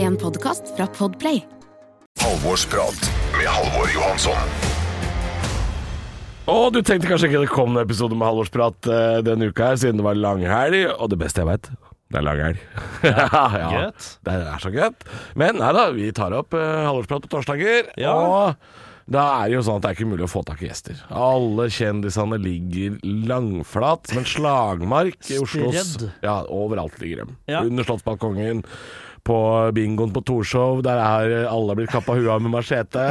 En podkast fra Podplay. Halvorsprat med Halvor Johansson. Og du tenkte kanskje ikke det kom en episode med halvårsprat eh, denne uka her, siden det var langhelg. Og det beste jeg veit, det er langhelg. Ja, gøtt. Det er så gøtt. Men nei da, vi tar opp eh, halvårsprat på torsdager. Ja. Og da er det jo sånn at det er ikke mulig å få tak i gjester. Alle kjendisene ligger langflat som en slagmark i Oslos Spredd. Ja, overalt ligger de. Ja. Under Slottsbalkongen, på bingoen på Torshov, der er eh, alle blitt kappa huet av med machete.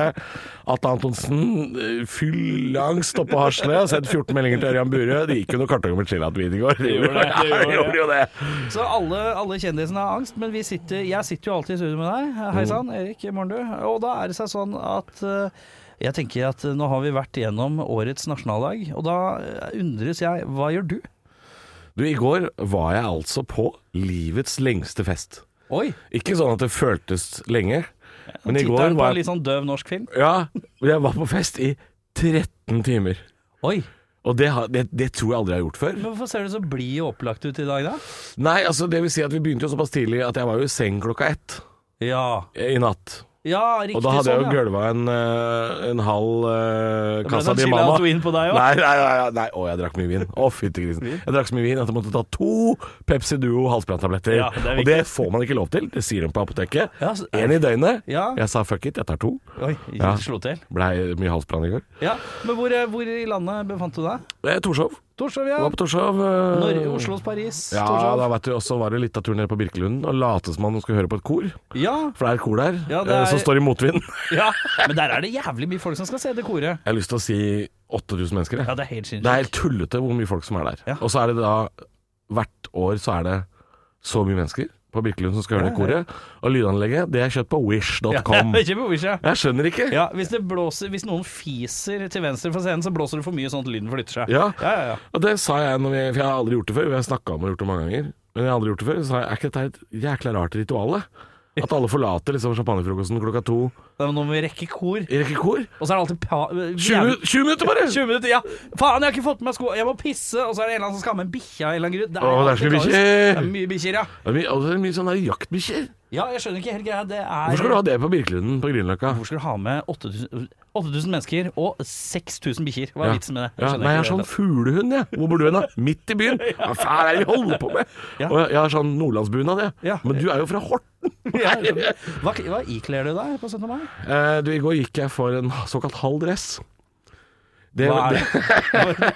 Atle Antonsen, eh, fyllangst oppe på Hasle, har sendt 14 meldinger til Ørjan Burøe. Det gikk jo noen kartonger med chili-hvitvin i går. Det gjorde det, det gjorde det. gjorde jo det. Så alle, alle kjendisene har angst, men vi sitter, jeg sitter jo alltid i studio med deg. Mm. Hei sann, Erik. Morgen, du. Og da er det seg sånn at eh, jeg tenker at nå har vi vært gjennom årets nasjonaldag, og da eh, undres jeg, hva gjør du? Du, i går var jeg altså på livets lengste fest. Oi! Ikke sånn at det føltes lenge, men i Tittelen går på en var litt jeg, sånn døv norsk film. ja, jeg var på fest i 13 timer. Oi! Og det, har- det, det tror jeg aldri jeg har gjort før. Men hvorfor ser du så blid og opplagt ut i dag, da? Nei, altså det vil si at vi begynte jo såpass tidlig at jeg var jo i seng klokka ett Ja. i natt. Ja, riktig Og da hadde jeg jo sånn, ja. gølva en, eh, en halv eh, ble Casa sånn di chill Mama. out win på deg også. Nei, nei, nei, nei. Å, jeg drakk mye vin. Å, fytti grisen. Jeg drakk så mye vin at jeg måtte ta to Pepsi Duo halsbranntabletter. Ja, det er og det får man ikke lov til. Det sier de på apoteket. Ja, så- Én i døgnet. Ja. Jeg sa fuck it, jeg tar to. Oi, Ja. slo til. Blei mye halsbrann i går. Ja, Men hvor, eh, hvor i landet befant du deg? Eh, Torshov. Torshov, ja. Jeg var på Torshov. eh, Norge, Oslos, Paris, Ja, Torshov. da vet du, og så var det litt av turen ned på Birkelunden, og late som man skulle høre på et kor. Ja, For det er et kor der Ja, det eh, er- som står i motvind. ja. Men der er det jævlig mye folk som skal se det koret. Jeg har lyst til å si 8000 mennesker. jeg. Ja, det er helt Det er sinnssykt. helt tullete hvor mye folk som er der. Ja. Og så er det da Hvert år så er det så mye mennesker på Birkelund som skal høre det koret. Og lydanlegget, det er kjøpt på wish.com. Ja, ikke på Wish, ja. Jeg skjønner ikke. Ja, hvis, det blåser, hvis noen fiser til venstre for scenen, så blåser det for mye sånn at lyden flytter seg. Ja. ja, ja, ja. Og det sa jeg når vi For jeg har aldri gjort det før. Vi har snakka om å gjort det mange ganger. Men jeg har aldri gjort det før. Så sa jeg, er ikke dette et jækla rart ritual? det? At alle forlater liksom champagnefrokosten klokka to Da må vi rekke kor. i rekke kor? Og så er det alltid pa... 20, jævlig- min- 20 minutter, bare! 20 minutter, ja. Faen, jeg har ikke fått med meg sko. Jeg må pisse, og så er det en eller annen som skal ha med en bikkje av en eller annen grunn. Å, det er så mye alltid kaos. bikkjer. Det er Mye bikkjer, ja. Det er mye, og det er mye sånn der jaktbikkjer. Ja, jeg skjønner ikke helt greia. Det er Hvor skal du ha det på Birkelunden på Grünerløkka? Hvor skal du ha med 8000 8000 mennesker og 6000 bikkjer? Hva er Ja. vitsen med det? Ja, skjønner nei, jeg ikke er det. sånn fuglehund, jeg. Hvor bor du hen, da? Midt i byen? Hva faen er det vi holder på med? Ja. Og jeg- jeg har sånn nordlandsbunad, jeg. Ja. Men du er jo fra Horten. Ja, jeg skjønner. Hva, hva ikler du deg på 17. mai? Eh, du, I går gikk jeg for en såkalt halv dress. Det, Hva er det, det?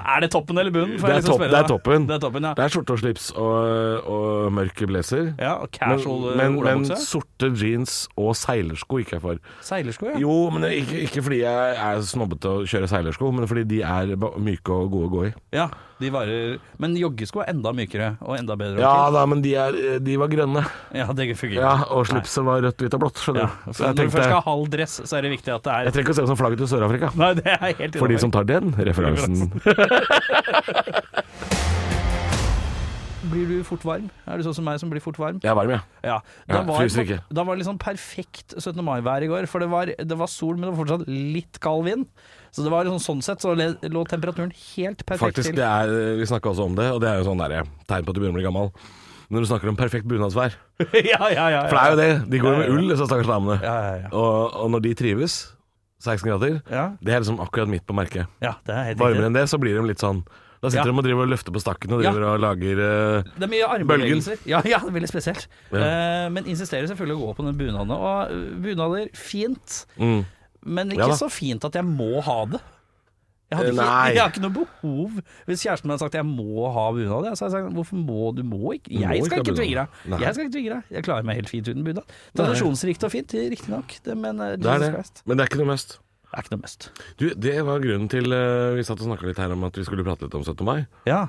er det toppen eller bunnen? Får det, er jeg liksom topp, spørre det er deg. toppen. Det er toppen, Det ja. er skjorte og slips og, og mørke blazer. ja og casual eh, men, men, men olabukse? sorte jeans og seilersko gikk jeg for. Seilersko, ja. Jo, men ikke, ikke fordi jeg er snobbete og kjører seilersko, men fordi de er ba- myke og gode å gå i. ja. De varer Men joggesko er enda mykere og enda bedre. Ja da, men de, er, eh, de var grønne. ja det fungerer. Ja, Og slipset var rødt, hvitt og blått. Nei. Skjønner Ja, du. for Så jeg Når du først tenkte skal ha halv dress, så er det viktig at det Jeg er trenger ikke å se ut som flagget til Sør-Afrika. Nei, det er helt For de innafor. som tar den referansen. Blir du fort varm? Er du sånn som meg som blir fort varm? Jeg er varm, jeg. Ja, Ja, da var, fryser det- ikke. Da var det liksom perfekt 17. mai-vær i går. For det var, det var sol, men det var fortsatt litt kald vind. Så det var liksom, sånn sett så le- lå temperaturen helt perfekt Faktisk, til. det er, vi snakka også om det, og det er jo sånn der, tegn på at du begynner å bli gammel. Når du snakker om perfekt bunadsvær. ja, ja, ja, ja. For det er jo det. De går jo Ja, ja, med ja. ull, disse stakkars damene. Ja, ja, ja. Og, og når de trives, 16 grader, Ja. det er liksom akkurat midt på merket. ja, det er helt Varmere riktig. enn det, så blir de litt sånn Da sitter Ja. de og driver og løfter på stakken og Ja. driver og lager eh, Det er mye armbevegelser. Ja, ja, det er veldig spesielt. Eh, men insisterer selvfølgelig å gå på den bunaden. Og eh, bunader, fint. Men ikke Mm. Ja da. så fint at jeg må ha det. Jeg, hadde Eh, ikke, nei. jeg har ikke noe behov Hvis kjæresten min hadde sagt jeg må ha bunad, så hadde jeg sagt hvorfor må du må ikke? Jeg ikke skal ha ikke bunad. tvinge deg. Nei. Jeg skal ikke tvinge deg. Jeg klarer meg helt fint uten bunad. Tradisjonsrikt og fint, riktignok, men eh, Det Jesus er det. Christ Men det er ikke noe must. det er ikke noe must. Du, det var grunnen til eh, Vi satt og snakka litt her om at vi skulle prate litt om 17. mai. Ja.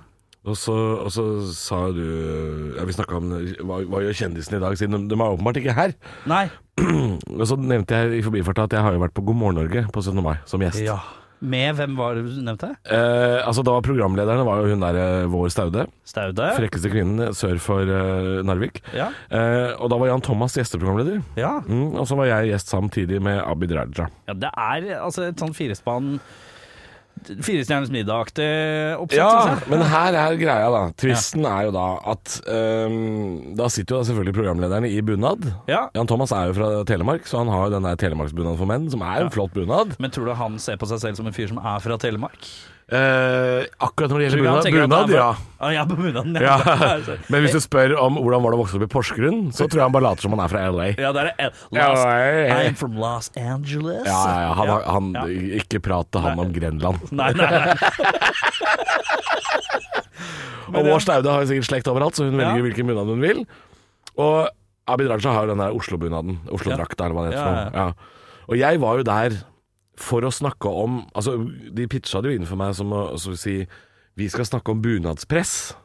Og så, og så sa jo du ja, Vi snakka om hva, hva gjør kjendisene i dag, siden de, de er åpenbart ikke her. Nei. Og så nevnte jeg i forbifarten at jeg har jo vært på God morgen Norge på 17. mai som gjest. Ja. Med hvem var det du nevnte? Eh, altså Da var programlederen var jo hun der eh, Vår Staude. Staude? Frekkeste kvinnen sør for eh, Narvik. Ja. Eh, og da var Jan Thomas gjesteprogramleder. Ja. Mm, og så var jeg gjest samtidig med Abid Raja. ja. Det er altså et sånn firespann Firestjerners middag-aktig oppsett, Ja, synes jeg. men her er greia, da. Tvisten er jo da at øhm, Da sitter jo da selvfølgelig programlederne i bunad. Ja. Jan Thomas er jo fra Telemark, så han har jo den der telemarksbunaden for menn, som er en flott bunad. Men tror du han ser på seg selv som en fyr som er fra Telemark? Eh, akkurat når det Tror du gjelder han tenker at bunad, bunad ja. han er fra- Ah, ja, bunaden, ja. altså. ja. Men hvis du spør om hvordan var det å vokse opp i Porsgrunn, så tror jeg han bare later som han er fra LA. Ja, altså. der er Ja, Los, ja, ja. I'm from Los Angeles. Ja, ja, ja. Han, var- han, Ja. Ikke prat til han om Grenland. Nei, nei, nei. Og Vår Staude har jo sikkert slekt overalt, så hun Ja. velger hvilken bunad hun vil. Og Abid Raja har jo den der Oslo-bunaden. Oslo-drakta, eller hva det heter. Ja, for noe. Ja. Og jeg var jo der for å snakke om Altså, de pitcha det jo inn for meg som å som å si Vi skal snakke om bunadspress.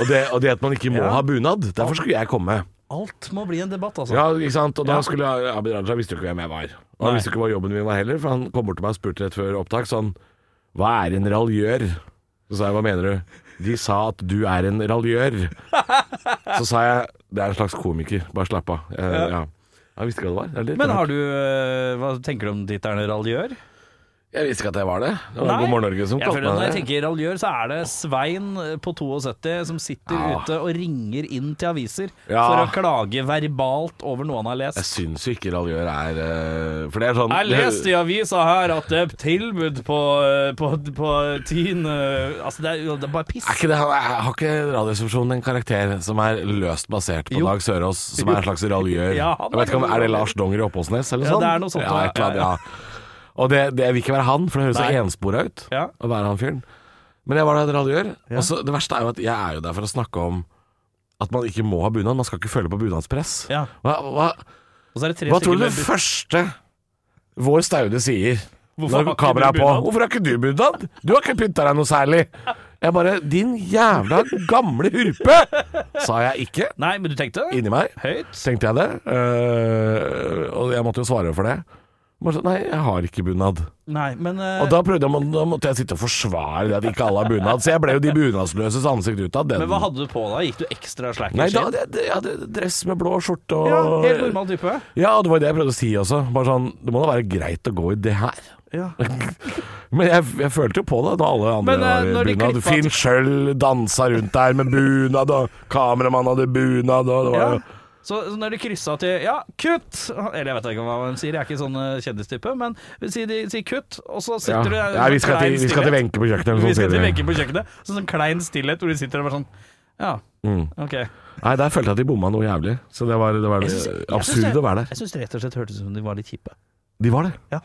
Og det, og det at man ikke må Ja. ha bunad. Derfor skulle jeg komme. Alt må bli en debatt, altså. Ja, ikke sant? Og da Ja. skulle jeg- Abid Raja visste jo ikke hvem jeg var. Og han Nei. visste ikke hva jobben min var heller, for han kom bort til meg og spurte rett før opptak sånn Hva er en raljør? Så sa jeg hva mener du? De sa at du er en raljør. Så sa jeg det er en slags komiker, bare slapp av. Eh, ja. Jeg visste ikke hva det var. Det er litt Men rart. har du eh, Hva tenker du om ditt er en raljør? Jeg visste ikke at jeg var det. Det var Nei. God morgen Norge som Jeg kalte føler at Når meg jeg det. tenker raljør, så er det Svein eh, på 72 som sitter Ja. ute og ringer inn til aviser Ah. Ja. for å klage verbalt over noe han har Jeg lest. syns jo ikke raljør er eh, For det er sånn Jeg leste i avisa her at det er tilbud på, eh, på, på tin Altså, det er, jo- det er bare piss. Er ikke det, har ikke Radioresepsjonen en karakter som er løst basert på Jo. Dag Sørås, som er en slags raljør? Ja, han jeg er vet ikke om, Er det raljør. Lars Donger i Oppåsnes eller Ja, sånn? det er noe sånt, Ja, ja. et eller annet, ja. Og det, det vil ikke være han, for det høres så Nei. enspora ut Ja. å være han fyren. Men jeg var der et raljør. Og så det verste er jo at jeg er jo der for å snakke om at man ikke må ha bunad. Man skal ikke føle på bunadspress. Ja. Hva, hva, Og så er det tre hva tror du det stykker med- første vår Staude sier Hvorfor har når ikke kameraet du er på? bunad? 'Hvorfor har ikke du bunad? Du har ikke pynta deg noe særlig.' Jeg bare 'Din jævla gamle hurpe', sa jeg ikke Nei, men du tenkte inni meg. høyt? Så tenkte jeg det, øh, og jeg måtte jo svare for det. Bare sånn, Nei, jeg har ikke bunad. Nei, men eh, Og da, prøvde jeg, da måtte jeg sitte og forsvare det at ikke alle har bunad. Så jeg ble jo de bunadsløses ansikt utad. den- Men hva hadde du på da? Gikk du ekstra slacker? Nei, da, det, det, jeg hadde dress med blå skjorte og ja, helt normal type. Ja, og det var det jeg prøvde å si også. Bare sånn, Det må da være greit å gå i det her. Ja. Men jeg, jeg følte jo på det da alle andre Men, eh, når var de i bunad. klippa- Finn Schjøll dansa rundt der med bunad, og kameramannen hadde bunad, og det var jo Så, så når de kryssa til Ja, kutt! Eller jeg vet ikke hva de sier, jeg er ikke sånn eh, kjendistype, men si de sier kutt, og så ja. sitter du der Nei, vi skal, til, vi skal til Wenche på kjøkkenet, eller Vi noe skal til sånt. Wenche på kjøkkenet. Så sånn klein stillhet hvor de sitter og bare sånn Ja, Mm. ok. Eh, Nei, der følte jeg at de bomma noe jævlig. Så det var, det var Jeg synes- jeg synes absurd det- å være der. Jeg syns det rett og slett hørtes ut som de var litt kjipe. De var det.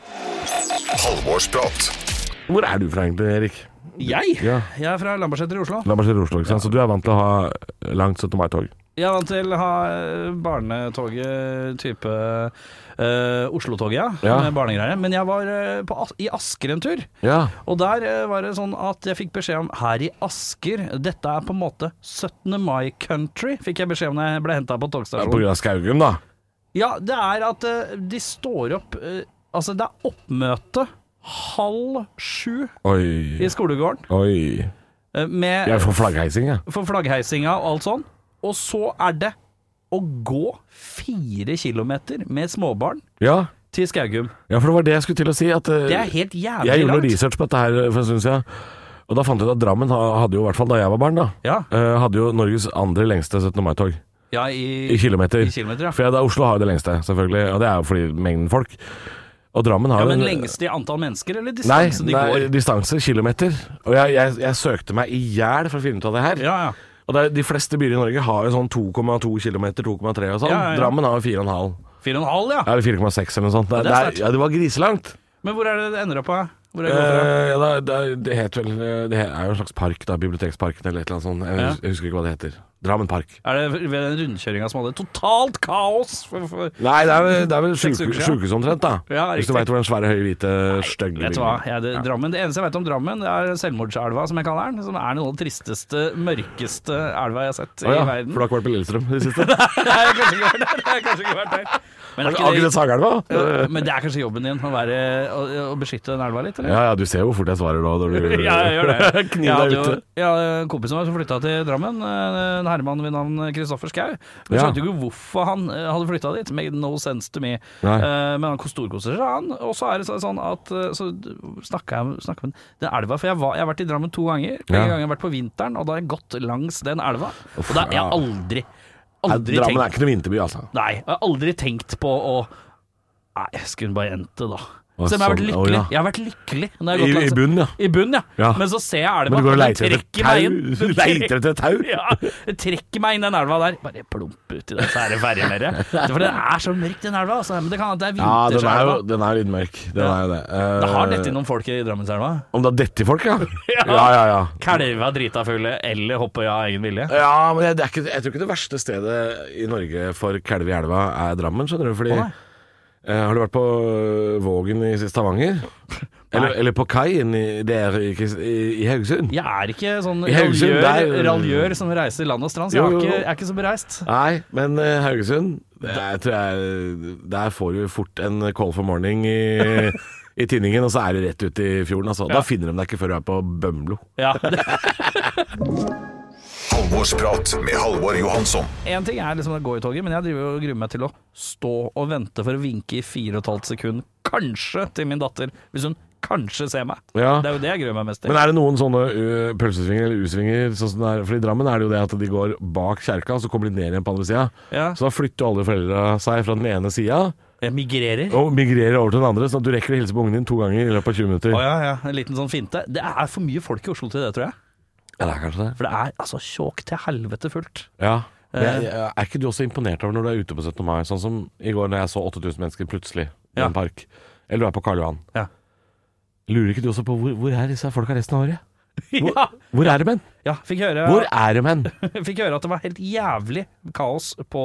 Halvorsprat. Hvor er du fra egentlig, Erik? Jeg? Ja. Jeg er fra Lambertseter i Oslo. La meg se til Oslo, ikke sant? Så du er vant til å ha langt 17. mai-tog. Jeg er vant til å ha eh, barnetoget type eh, Oslo-toget, ja. Ja. Med barnegreier. Men jeg var eh, på, As- i Asker en tur. Ja. Og der eh, var det sånn at jeg fikk beskjed om Her i Asker, dette er på en måte 17. mai country, fikk jeg beskjed om da jeg ble henta på På togstasjonen. grunn av Skaugum, da. Ja, det er at eh, de står opp eh, Altså, det er oppmøte halv sju i Oi. skolegården Oi. eh, med Jeg får flaggheising, jeg. for flaggheisinga og alt sånn. Og så er det å gå fire kilometer med småbarn Ja. til Skaugum. ja, for det var det jeg skulle til å si. At, eh, Det er helt Jeg jævlig gjorde noe langt. research på dette her for en stund siden. Og da fant jeg ut at Drammen ha- hadde jo, i hvert fall da jeg var barn, da, Ja. eh, hadde jo Norges andre lengste 17. mai-tog Ja, i i, kilometer. i kilometer, ja. For jeg, da, Oslo har jo det lengste, selvfølgelig. Og det er jo fordi mengden folk. Og Drammen har ja. jo Men en- lengst i antall mennesker, eller Nei, distanse de nei går? distanse. Kilometer. Og jeg, jeg, jeg søkte meg i hjel for å finne ut av det her. Ja, ja. Og det er, de fleste byer i Norge har jo sånn 2,2 km, 2,3 og sånn. Ja, ja, ja. Drammen har jo 4,5. Fire og en halv, ja. Eller 4,6 eller noe sånt. Det, det er det, er, sterkt. ja, det var griselangt. Men hvor er det det ender opp på? Hvor er det går fra? Eh, ja, da, da, det het vel eh, Det he- er jo en slags park, da. Biblioteksparken eller et eller annet sånt. Jeg, Ja. hus- jeg husker ikke hva det heter. Drammen park. Er det ved den rundkjøringa som hadde totalt kaos? For, for. Nei, det er vel, det er vel Seks sjuke- uker siden. sjukehus omtrent, da. Ja, Hvis du riktig. veit hvor den svære, høye, hvite, stygge Vet du hva, jeg, det, Drammen, det eneste jeg vet om Drammen, det er Selvmordselva, som jeg kaller den. Som er noe av den tristeste, mørkeste elva jeg har sett Å ja, i verden. for du har ikke vært på Lillestrøm i det siste? Har Nei, jeg har kanskje ikke vært der. Jeg har kanskje ikke vært der. Men, du- eh? er Har ikke ikke sett Sagelva? det, men det er kanskje jobben din å, være, å, å beskytte den elva litt, eller? Ja ja, du ser jo hvor fort jeg svarer nå. Når du Ja, jeg gjør det. Kniv deg jo- ute. Jeg hadde en kompis som flytta til Drammen, eh, en en herremann ved navn Kristoffer Schau. Vi Ja. skjønte jo ikke hvorfor han eh, hadde flytta dit. Made no sense to me. Nei. Eh, men han storkoser seg, han. Og så er det så- sånn at eh, Så snakka jeg snakket med den elva, for jeg, var, jeg har vært i Drammen to ganger. Begge Ja. ganger jeg har vært på vinteren, og da har jeg gått langs den elva. Og da har jeg aldri, aldri Nei, Drammen tenkt er ikke noe vinterby, altså. Nei, jeg har aldri tenkt på å Nei, skulle hun bare jente, da. Å, Selv om jeg har vært sånn. Å, lykkelig. ja. Jeg har vært lykkelig når jeg I, har gått i langs bunnen, ja. I bunn, ja. Ja. Men så ser jeg elva. Men du går og den leter etter trekker meg tau? inn. Du Den leter trekker- etter tau? Ja, den trekker meg inn den elva der. Bare plump uti den sære ferjen, dere. For den er så mørk, den elva. Altså. Men det kan hende det er Ja, den er jo vinterselva. den er litt mørk. Den Ja. er jo det. Eh, det har dette noen folk i Drammenselva. Om det har dette i folk, ja? Ja. ja, ja. ja. Kalva drita fugle, eller hopper av egen vilje. Ja, men jeg, det er ikke, jeg tror ikke det verste stedet i Norge for kalv i elva er Drammen, skjønner du. Fordi Å, nei. eh, Har du vært på øh, Vågen i Stavanger? Eller, eller på kaien i- der i, Kris- i, i Haugesund? Jeg er ikke sånn I Haugesund, raljør, der- raljør som reiser land og strand, så jeg, Jo, har jo, jo. ikke, jeg er ikke så bereist. Nei, men eh, Haugesund det er, tror jeg, Der får du fort en call for morning i, i tinningen, og så er det rett ut i fjorden. Altså. Da finner de deg ikke før du er på Bømlo. Ja. Halvorsprat med Halvor Johansson. En ting er liksom å gå i toget, men jeg driver jo og gruer meg til å stå og vente for å vinke i fire og et halvt sekund, kanskje til min datter, hvis hun kanskje ser meg. Ja. Det er jo det jeg gruer meg mest til. Men er det noen sånne ø, pølsesvinger eller U-svinger? Sånn som det er, for I Drammen er det jo det at de går bak kjerka, og så kommer de ned igjen på andre sida. Ja. Så da flytter jo alle foreldra seg fra den ene sida Jeg migrerer. og migrerer over til den andre, sånn at du rekker å hilse på ungen din to ganger i løpet av 20 minutter. Å ja, ja. En liten sånn finte. Det er for mye folk i Oslo til det, tror jeg. Ja, det er kanskje det. For det er altså tjåk til helvete fullt. Ja. Men Eh. jeg, jeg, er ikke du også imponert over når du er ute på 17. mai, sånn som i går når jeg så 8000 mennesker plutselig i Ja. en park? Eller du er på Karl Johan. Ja. Lurer ikke du også på hvor, hvor er disse folka resten av året? Hvor, Ja, hvor er de hen? ja fikk, høre, Hvor er de hen? fikk høre at det var helt jævlig kaos på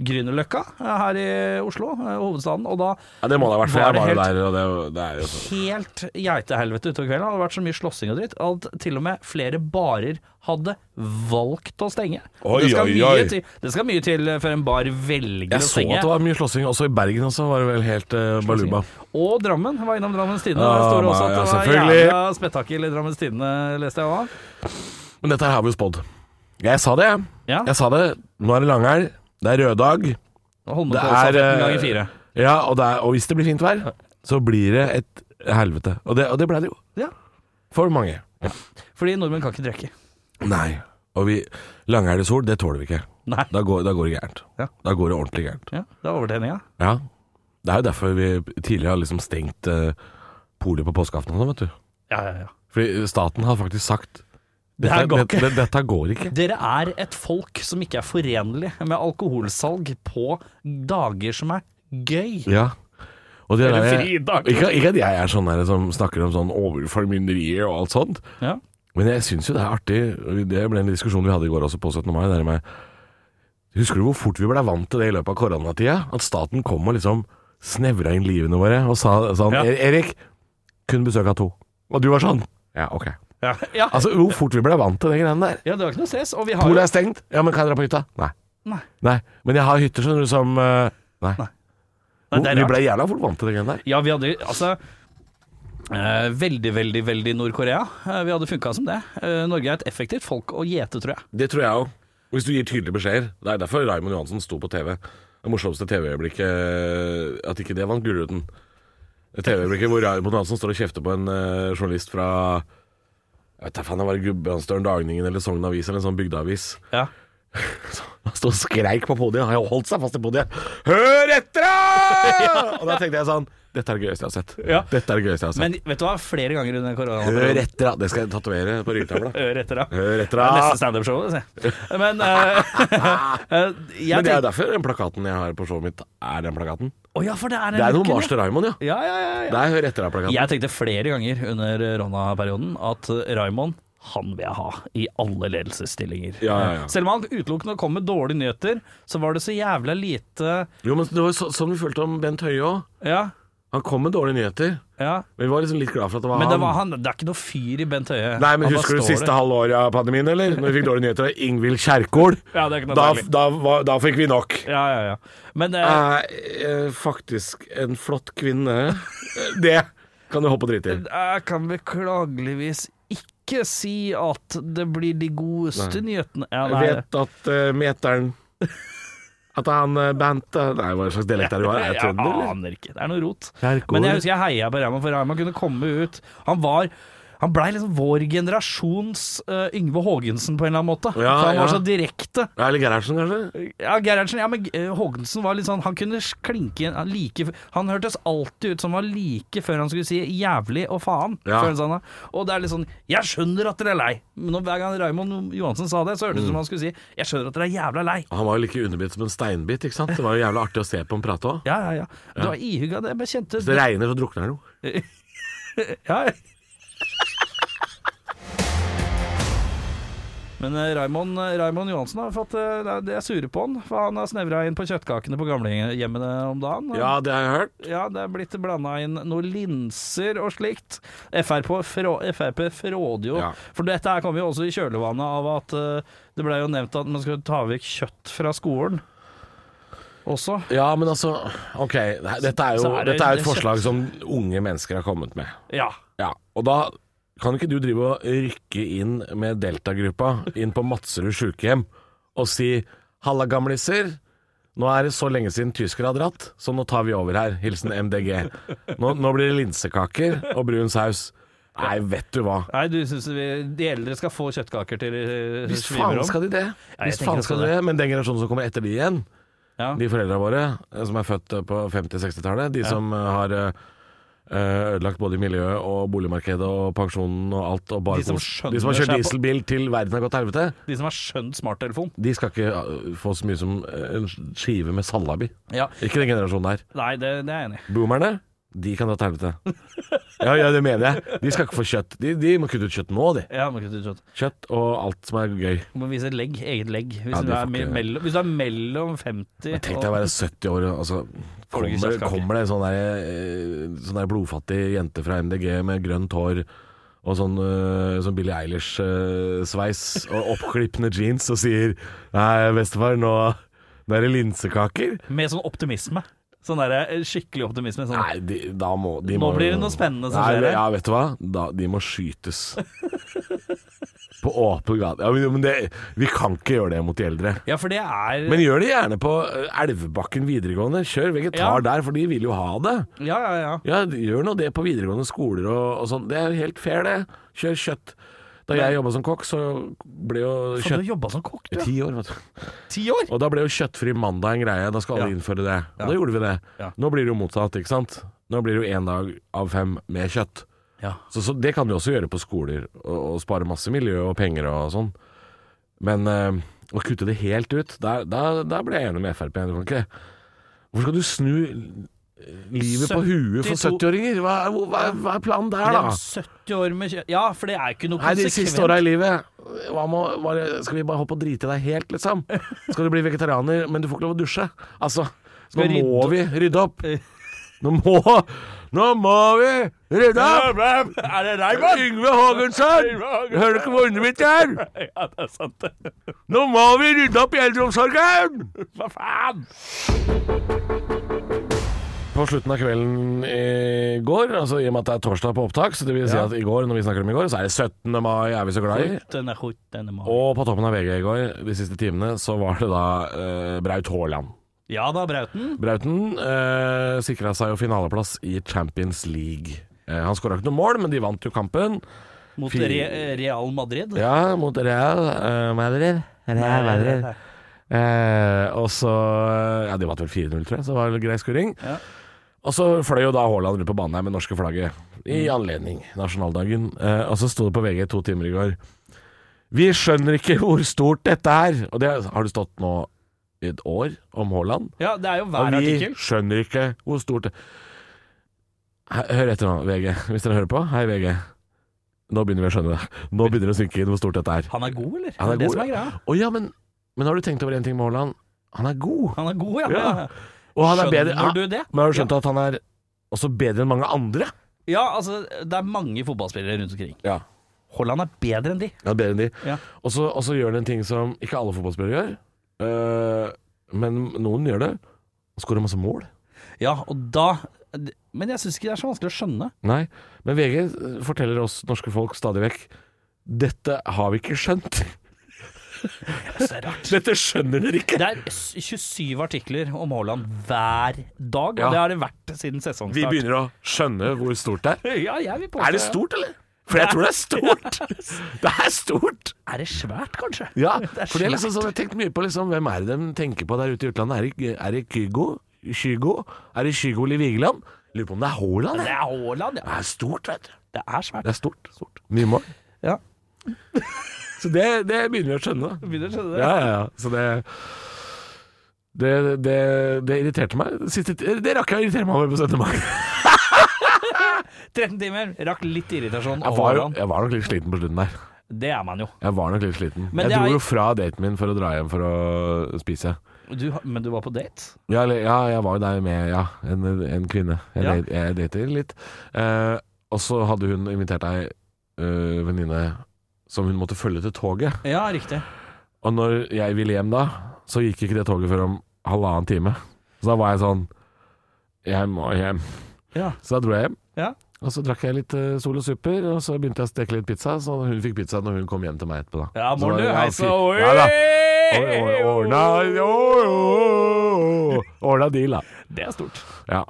Grünerløkka eh, her i Oslo, eh, hovedstaden. Og da Ja, det må det ha vært, for Var jeg det var jo helt- der, og det, er jo- det er jo sånn. helt geitehelvete utover kvelden. Det hadde vært så mye slåssing og dritt at til og med flere barer hadde valgt å stenge. Oi, det, skal oi, mye oi. Til, det skal mye til før en bar velger Jeg å så stenge. at det var mye slåssing. Også i Bergen også var det vel helt eh, baluba. Og Drammen. Jeg var innom Drammens Tidende. Ah, Der står det nei, ja, også at det var selvfølgelig. jævla spetakkel i Drammens Tidende, leste jeg òg. Men dette her har vi jo spådd. Jeg sa det, jeg. Ja. Jeg sa det. Nå er det langhelg. Det er røddag. Det er eh, ganger fire. Ja, og, det er, og hvis det blir fint vær, så blir det et helvete. Og det, og det ble det jo. Ja. For mange. Fordi nordmenn kan ikke drikke. Nei. Og vi Langhelg og sol, det tåler vi ikke. Nei. Da går, da går det gærent. Ja. Da går det ordentlig gærent. Ja, det er overtenninga. Ja. Det er jo derfor vi tidligere har liksom stengt eh, polet på påskeaften og sånn, vet du. Ja, ja, ja. Fordi staten har faktisk sagt dette, her går ikke. dette, dette går ikke. Dere er et folk som ikke er forenlig med alkoholsalg på dager som er gøy. Ja. Og det Eller der- fridag. Ikke, ikke at jeg er sånn der som snakker om sånn overformynderier og alt sånt, Ja. men jeg syns jo det er artig. Det ble en diskusjon vi hadde i går også på 17. mai. Det der med, husker du hvor fort vi ble vant til det i løpet av koronatida? At staten kom og liksom snevra inn livene våre og sa sånn Ja. «Er- Erik, kun besøk av to. Og du var sånn. Ja, ok. Ja. ja. Altså, hvor fort vi ble vant til det greiene der. Ja, det var ikke noe stress. Og vi har Polet er stengt. Ja, men kan jeg dra på hytta? Nei. Nei. Nei. Men jeg har hytter, skjønner du, som eh, Nei. Nei, det er vi rart. ble jævla fort vant til det greiene der. Ja, vi hadde altså eh, veldig, veldig, veldig Nord-Korea. Eh, vi hadde funka som det. Eh, Norge er et effektivt folk å gjete, tror jeg. Det tror jeg òg. Hvis du gir tydelige beskjeder. Det er derfor Raymond Johansen sto på TV. Det morsomste TV-øyeblikket At ikke det vant Gullruten. Det TV-øyeblikket hvor Raymond Johansen står og kjefter på en eh, journalist fra Jeg vet da faen, det var Gudbrandsdølen Dagningen eller Sogn Avis eller en sånn bygdeavis. Ja. Han sto og skreik på podiet. Han holdt seg fast i podiet. 'Hør etter, da!' Og da tenkte jeg sånn Dette er det gøyeste jeg har sett. Ja. Dette er det gøyeste jeg har sett. Men vet du hva, flere ganger under Hør koronaperioden etter, da. Det skal jeg tatovere på ryggtavla. Hør etter, da. Hør etter, Det er da. Neste standup-show, det, si. Men eh, eh, jeg Men det er tenker jo derfor den plakaten jeg har på showet mitt, er den plakaten. Å ja, for det er den Det er noen looken, Mars til Raymond, ja. Ja, ja, ja, ja. Det er Hør etter deg-plakaten. Jeg tenkte flere ganger under Ronna-perioden at Raimond han vil jeg ha i alle ledelsesstillinger. Ja, ja, ja. Selv om han utelukkende kom med dårlige nyheter, så var det så jævla lite Jo, men Det var så, sånn vi følte om Bent Høie òg. Ja, Han kom med dårlige nyheter, ja. men vi var liksom litt glad for at det var Men det, han. var han, det er ikke noe fyr i Bent Høie. Nei, men Han bare Husker du står siste der. halvåret av pandemien, eller? Når vi fikk dårlige nyheter av Ingvild Kjerkol. Ja, det er ikke noe da, særlig. da, var- da fikk vi nok. Ja, ja, ja. Men eh, Er eh, faktisk en flott kvinne. Det kan du hoppe og drite i. jeg kan Eh, beklageligvis ikke ikke si at det blir de godeste nyhetene ja, Jeg vet at eh, meteren At han uh, Bente Nei, hva slags dialekt er det du har? Er det trønder, Jeg eller? aner ikke. Det er noe rot. Kjerkol. Men jeg husker jeg heia på Raymond, for Raymond kunne komme ut. Han var han blei liksom vår generasjons eh, Yngve Haagensen, på en eller annen måte. Ja, for han var ja. så direkte. Ja, Eller Gerhardsen, kanskje? Ja, Gerhardsen, ja, men eh, Haagensen var litt sånn Han kunne s- klinke inn han like Han hørtes alltid ut som han var like før han skulle si 'jævlig' og 'faen'. Ja. Før han sa det. Og det er litt sånn 'Jeg skjønner at dere er lei'. Men nå- hver gang Raymond Johansen sa det, så hørtes det ut Mm. som han skulle si 'Jeg skjønner at dere er jævla lei'. Han var jo like underbitt som en steinbit, ikke sant? Det var jo jævlig artig å se på ham prate òg. Ja, ja, ja. Du var ihugga, det jeg kjente Hvis det regner, så drukner han jo. Ja. Men eh, Raymond, Raymond Johansen har fått eh, det er- Det er sure på han, for han har snevra inn på kjøttkakene på gamlehjemmene om dagen. Ja, det har jeg hørt. Ja, det er blitt blanda inn noen linser og slikt. Frp, frå, FRP fråder jo. Ja. For dette her kom jo også i kjølvannet av at eh, det blei jo nevnt at man skulle ta vekk kjøtt fra skolen også. Ja, men altså OK, dette er jo Så er det- dette er jo det et er forslag som unge mennesker har kommet med. Ja. Ja, og da kan ikke du drive og rykke inn med Delta-gruppa inn på Madserud sykehjem og si 'halla, gamliser'. Nå er det så lenge siden tyskere har dratt, så nå tar vi over her. Hilsen MDG. Nå, nå blir det linsekaker og brun saus. Nei, vet du hva. Nei, du syns de eldre skal få kjøttkaker til eh, Hvis sviver faen om? skal de det? jeg Hvis tenker faen også skal de det? Men den generasjonen som kommer etter de igjen, Ja. de foreldra våre eh, som er født eh, på 50-60-tallet, de som eh, har eh, eh, ødelagt både miljøet og boligmarkedet og pensjonen og alt og bare De som kos- de som har skjønner kjørt seg på- dieselbil til verden har gått til helvete, De som har skjønt smarttelefon. de skal ikke eh, få så mye som eh, en skive med salabi. Ja. Ikke den generasjonen der. Nei, det, det er jeg enig i. Boomerne, de kan dra til helvete. Ja, ja, det mener jeg. De skal ikke få kjøtt. De, de må kutte ut kjøtt nå, de. Ja, man kan ikke skjønne. Kjøtt og alt som er gøy. Du må vise legg, eget legg. Hvis, Ja, du, det er får me- ikke- mellom, hvis du er mellom 50 Men Tenk deg å være 70 år og altså, Får du ikke kommer, kjøttkake? kommer det en sånn der, eh, sånn der blodfattig jente fra MDG med grønt hår og sånn, eh, sånn Billie Eilish-sveis og oppklippende jeans og sier Nei, bestefar, nå, nå er det linsekaker. Med sånn optimisme. Sånn der, eh, skikkelig optimisme. Sånn. Nei, de, da må de Nå må, blir det noe spennende som Nei, skjer her. Ja, vet du hva? Da, de må skytes. På åpen gate. Ja, men, men det, vi kan ikke gjøre det mot de eldre. Ja, for det er Men gjør det gjerne på eh, Elvebakken videregående. Kjør vegetar Ja. der, for de vil jo ha det. Ja, ja, ja. Ja, gjør nå det på videregående skoler og, og sånn. Det er jo helt fair, det. Kjør kjøtt. Da jeg jobba som kokk, så ble jo For du kjøtt har jobba som kokk, du. Ti år, vet du. Ti år? Og da ble jo kjøttfri mandag en greie. Da skal alle Ja. innføre det. Og Ja. da gjorde vi det. Ja. Nå blir det jo motsatt, ikke sant. Nå blir det jo én dag av fem med kjøtt. Ja. Så, så det kan du også gjøre på skoler, og, og spare masse miljø og penger og sånn. Men eh, å kutte det helt ut, der, der, der ble jeg enig med Frp. Du kan ikke Hvorfor skal du snu livet på huet for 72 70-åringer? Hva, er- hvor- hva, er- hva er planen der, Det er da? 70 år med kjø... Ja, for det er ikke noe Nei, de siste åra konsekvent. i livet hva må, hva, Skal vi bare hoppe og drite i deg helt, liksom? Skal du bli vegetarianer, men du får ikke lov å dusje? Altså, nå Skal vi må rydde- vi rydde opp! Nå må Nå må vi rydde opp! Er det Raymond? Yngve Haagensen! Hører du ikke hvor underlig mitt er? Ja, det er sant, det. Nå må vi rydde opp i eldreomsorgen! Hva faen? På slutten av kvelden i går, altså i og med at det er torsdag på opptak, så det vil si at i går, når vi snakker om i går, så er det 17. mai, er vi så glad i. Denne skjorten er mat. Og på toppen av VG i går, de siste timene, så var det da eh, Braut Haaland. Ja da, Brauten. Brauten eh, sikra seg jo finaleplass i Champions League. Eh, han skåra ikke noe mål, men de vant jo kampen. Mot Fy- Re Real Madrid. Ja, mot Real eh, Madrid. Real Madrid. Eh, og så Ja, de vant vel 4-0, tror jeg, så det var en grei skuring. Ja. Og så fløy jo da Haaland rundt på banen her med norske flagget i anledning nasjonaldagen. Eh, og så sto det på VG to timer i går Vi skjønner ikke hvor stort dette er! Og det har det stått nå i et år om Haaland. Ja, det er jo Og vi hver artikkel. skjønner ikke hvor stort det He- Hør etter nå, VG. Hvis dere hører på. Hei, VG. Nå begynner vi å skjønne det. Nå begynner det å synke inn hvor stort dette er. Han er god, eller? Han er det god, som er ja. greia. Å ja, men, men har du tenkt over én ting med Haaland? Han er god. Han er god, ja. Ja. Og han er bedre Skjønner ja, du det? Men har du skjønt at han er også bedre enn mange andre? Ja, altså, det er mange fotballspillere rundt omkring. Ja. Haaland er bedre enn de. Han er bedre enn de. Ja. Og så og så gjør han en ting som ikke alle fotballspillere gjør, øh, men noen gjør det. Og skårer masse mål. Ja, og da Men jeg syns ikke det er så vanskelig å skjønne. eh, Nei, men VG forteller oss norske folk stadig vekk Dette har vi ikke skjønt. Det er rart. Dette skjønner dere ikke. Det er s- 27 artikler om Haaland hver dag, og Ja. det har det vært siden Vi sesongstart. begynner å skjønne hvor stort det er. Ja, jeg vil påstå Er det stort, eller? For jeg tror det er stort. Det er stort. Er det svært, kanskje? Ja, Det er for det er liksom svært. sånn, jeg har tenkt mye på liksom, hvem er det de tenker på der ute i utlandet. Er det, er det Kygo? Kygo? Er det Kygo eller Vigeland? Lurer på om det er Haaland. Det jeg. er Haaland, ja. Det er stort, vet du. Det er svært. Det er stort. stort. Mye mål. Ja. Så det, det begynner vi å skjønne. da. Begynner å skjønne det. Ja, ja, ja. Så det det, det, det irriterte meg. Siste, det rakk jeg å irritere meg over på 17. mai. 13 timer, rakk litt irritasjon. Jeg over var, jo, Haaland. jeg var nok litt sliten på slutten der. Det er man jo. Jeg var nok litt sliten. Men jeg det er- dro jo fra daten min for å dra hjem for å spise. Du, men du var på date? Ja, eller, ja jeg var jo der med ja, en, en kvinne. Jeg, Ja. date- jeg dater litt. Eh, og så hadde hun invitert ei eh, venninne som hun måtte følge til toget. Ja, riktig. Og når jeg ville hjem da, så gikk ikke det toget før om halvannen time. Så da var jeg sånn Jeg må hjem. Ja. Så da dro jeg hjem. Ja. Og så drakk jeg litt eh, Sol og Super, og så begynte jeg å steke litt pizza. Så hun fikk pizza når hun kom hjem til meg etterpå, da. Ja, Så Morn, det du. var- Hei så fy- Ja, da. Oi, oi, Ordna oi, oi, oi. Ordna deal, da. Det er stort. Ja.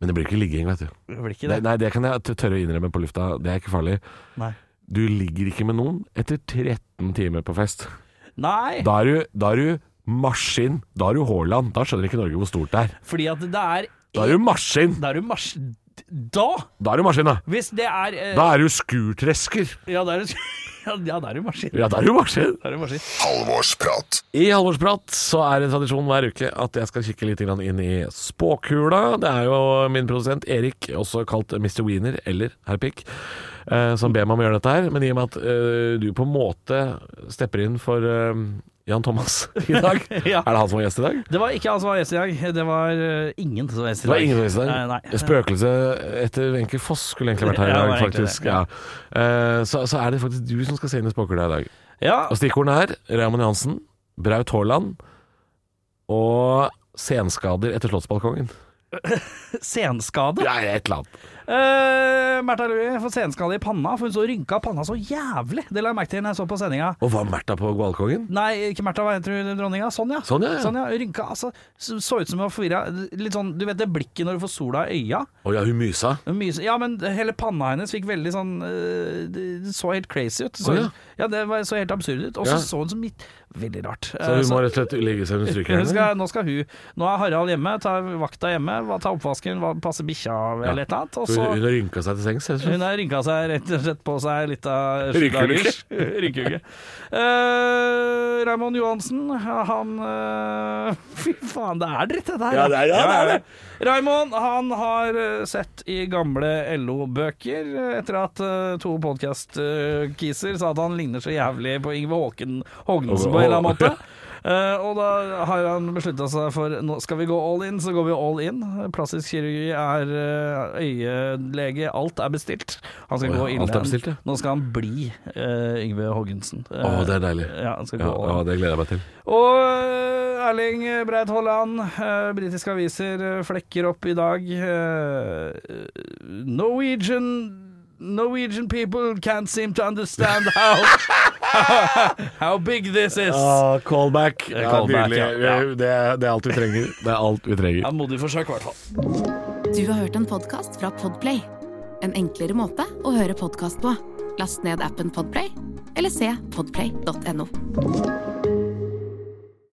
Men det blir ikke ligging, vet du. Det blir ikke Det, det. nei, det kan jeg t- tørre å innrømme på lufta. Det er ikke farlig. Nei. Du ligger ikke med noen etter 13 timer på fest. Nei, Da er du, da er du maskin. Da er du Haaland. Da skjønner ikke Norge hvor stort det er. fordi at det er Da er du maskin. Da er du mars... Da! Da er du maskin, da. Hvis det er eh, Da er du skurtresker. Ja, da er du Ja, da er du maskin. Ja, da er du maskin. Da er du maskin. Halvorsprat. I Halvorsprat så er det tradisjon hver uke at jeg skal kikke litt grann inn i spåkula. Det er jo min produsent Erik, også kalt Mr. Wiener, eller Herr Pick, eh, som ber meg om å gjøre dette her. Men i og med at eh, du på en måte stepper inn for eh, Jan Thomas i dag Ja. Er det han som var gjest i dag? Det var ikke han som var gjest i dag. Det var eh, ingen som var gjest i Det var dag. ingen som Nei, var nei. Spøkelset etter Wenche Foss skulle egentlig vært her i Ja, det dag, var egentlig faktisk. det, ja. Ja. Eh, Så, så er det faktisk du som skal se inn i spåkula i dag. Ja, Og stikkordene er Raymond Johansen, Braut Haaland og senskader etter slottsbalkongen. senskade. Ja, et eller annet. Eh, Märtha Louie får senskade i panna, for hun så rynka panna så jævlig. Det la jeg merke til når jeg så på sendinga. Og var Märtha på balkongen? Nei, ikke Märtha, hva heter hun dronninga? Sonja. Sånn, ja. ja. Sonja rynka, altså, så, så ut som hun var forvirra. Litt sånn, du vet det blikket når du får sola i øya? Å ja, hun mysa. Mye, så- ja, men hele panna hennes fikk veldig sånn øh, Det det så helt crazy ut. Så, Å, ja. ja, Det var, så helt absurd ut. Og så Ja. så hun som midt Veldig rart. Så hun Eh, må rett og slett legge seg under hun strykerne? skal, nå skal hun Nå er Harald hjemme, tar vakta hjemme, hva- tar oppvasken, hva- passer bikkja eller et eller annet. Og Hun, hun så har rynka seg til sengs, rett og hun slett. har rynka seg rett og slett på seg litt av Rynkeulykke. Rynkeuke. Uh, Raymond Johansen, han eh, Fy faen, det er dritt, dette her. Ja, det er- ja, det er det. Raymond, han har eh, sett i gamle LO-bøker, eh, etter at eh, to podkast-kiser sa at han ligner så jævlig på Yngve Håken Hognesen på en eller annen måte. Eh, og da har han beslutta seg for nå skal vi gå all in, så går vi all in. Plastisk kirurgi er eh, øyelege, alt er bestilt. Han skal Å ja, gå inn alt er bestilt, ja. Nå skal han bli eh, Yngve Hoggensen. Å, det er deilig. Ja, han skal Ja, gå all in. å, det gleder jeg meg til. Og eh, Erling Breit Haaland, eh, britiske aviser eh, flekker opp i dag. eh, Norwegian Norwegian people can't seem to understand how How big this is. Ah. callback. Ja, Ah, callback, nydelig. ja. Det, det er alt vi trenger. Det er alt vi Ja, trenger. modig forsøk, i hvert fall. Du har hørt en podkast fra Podplay. En enklere måte å høre podkast på. Last ned appen Podplay, eller se podplay.no.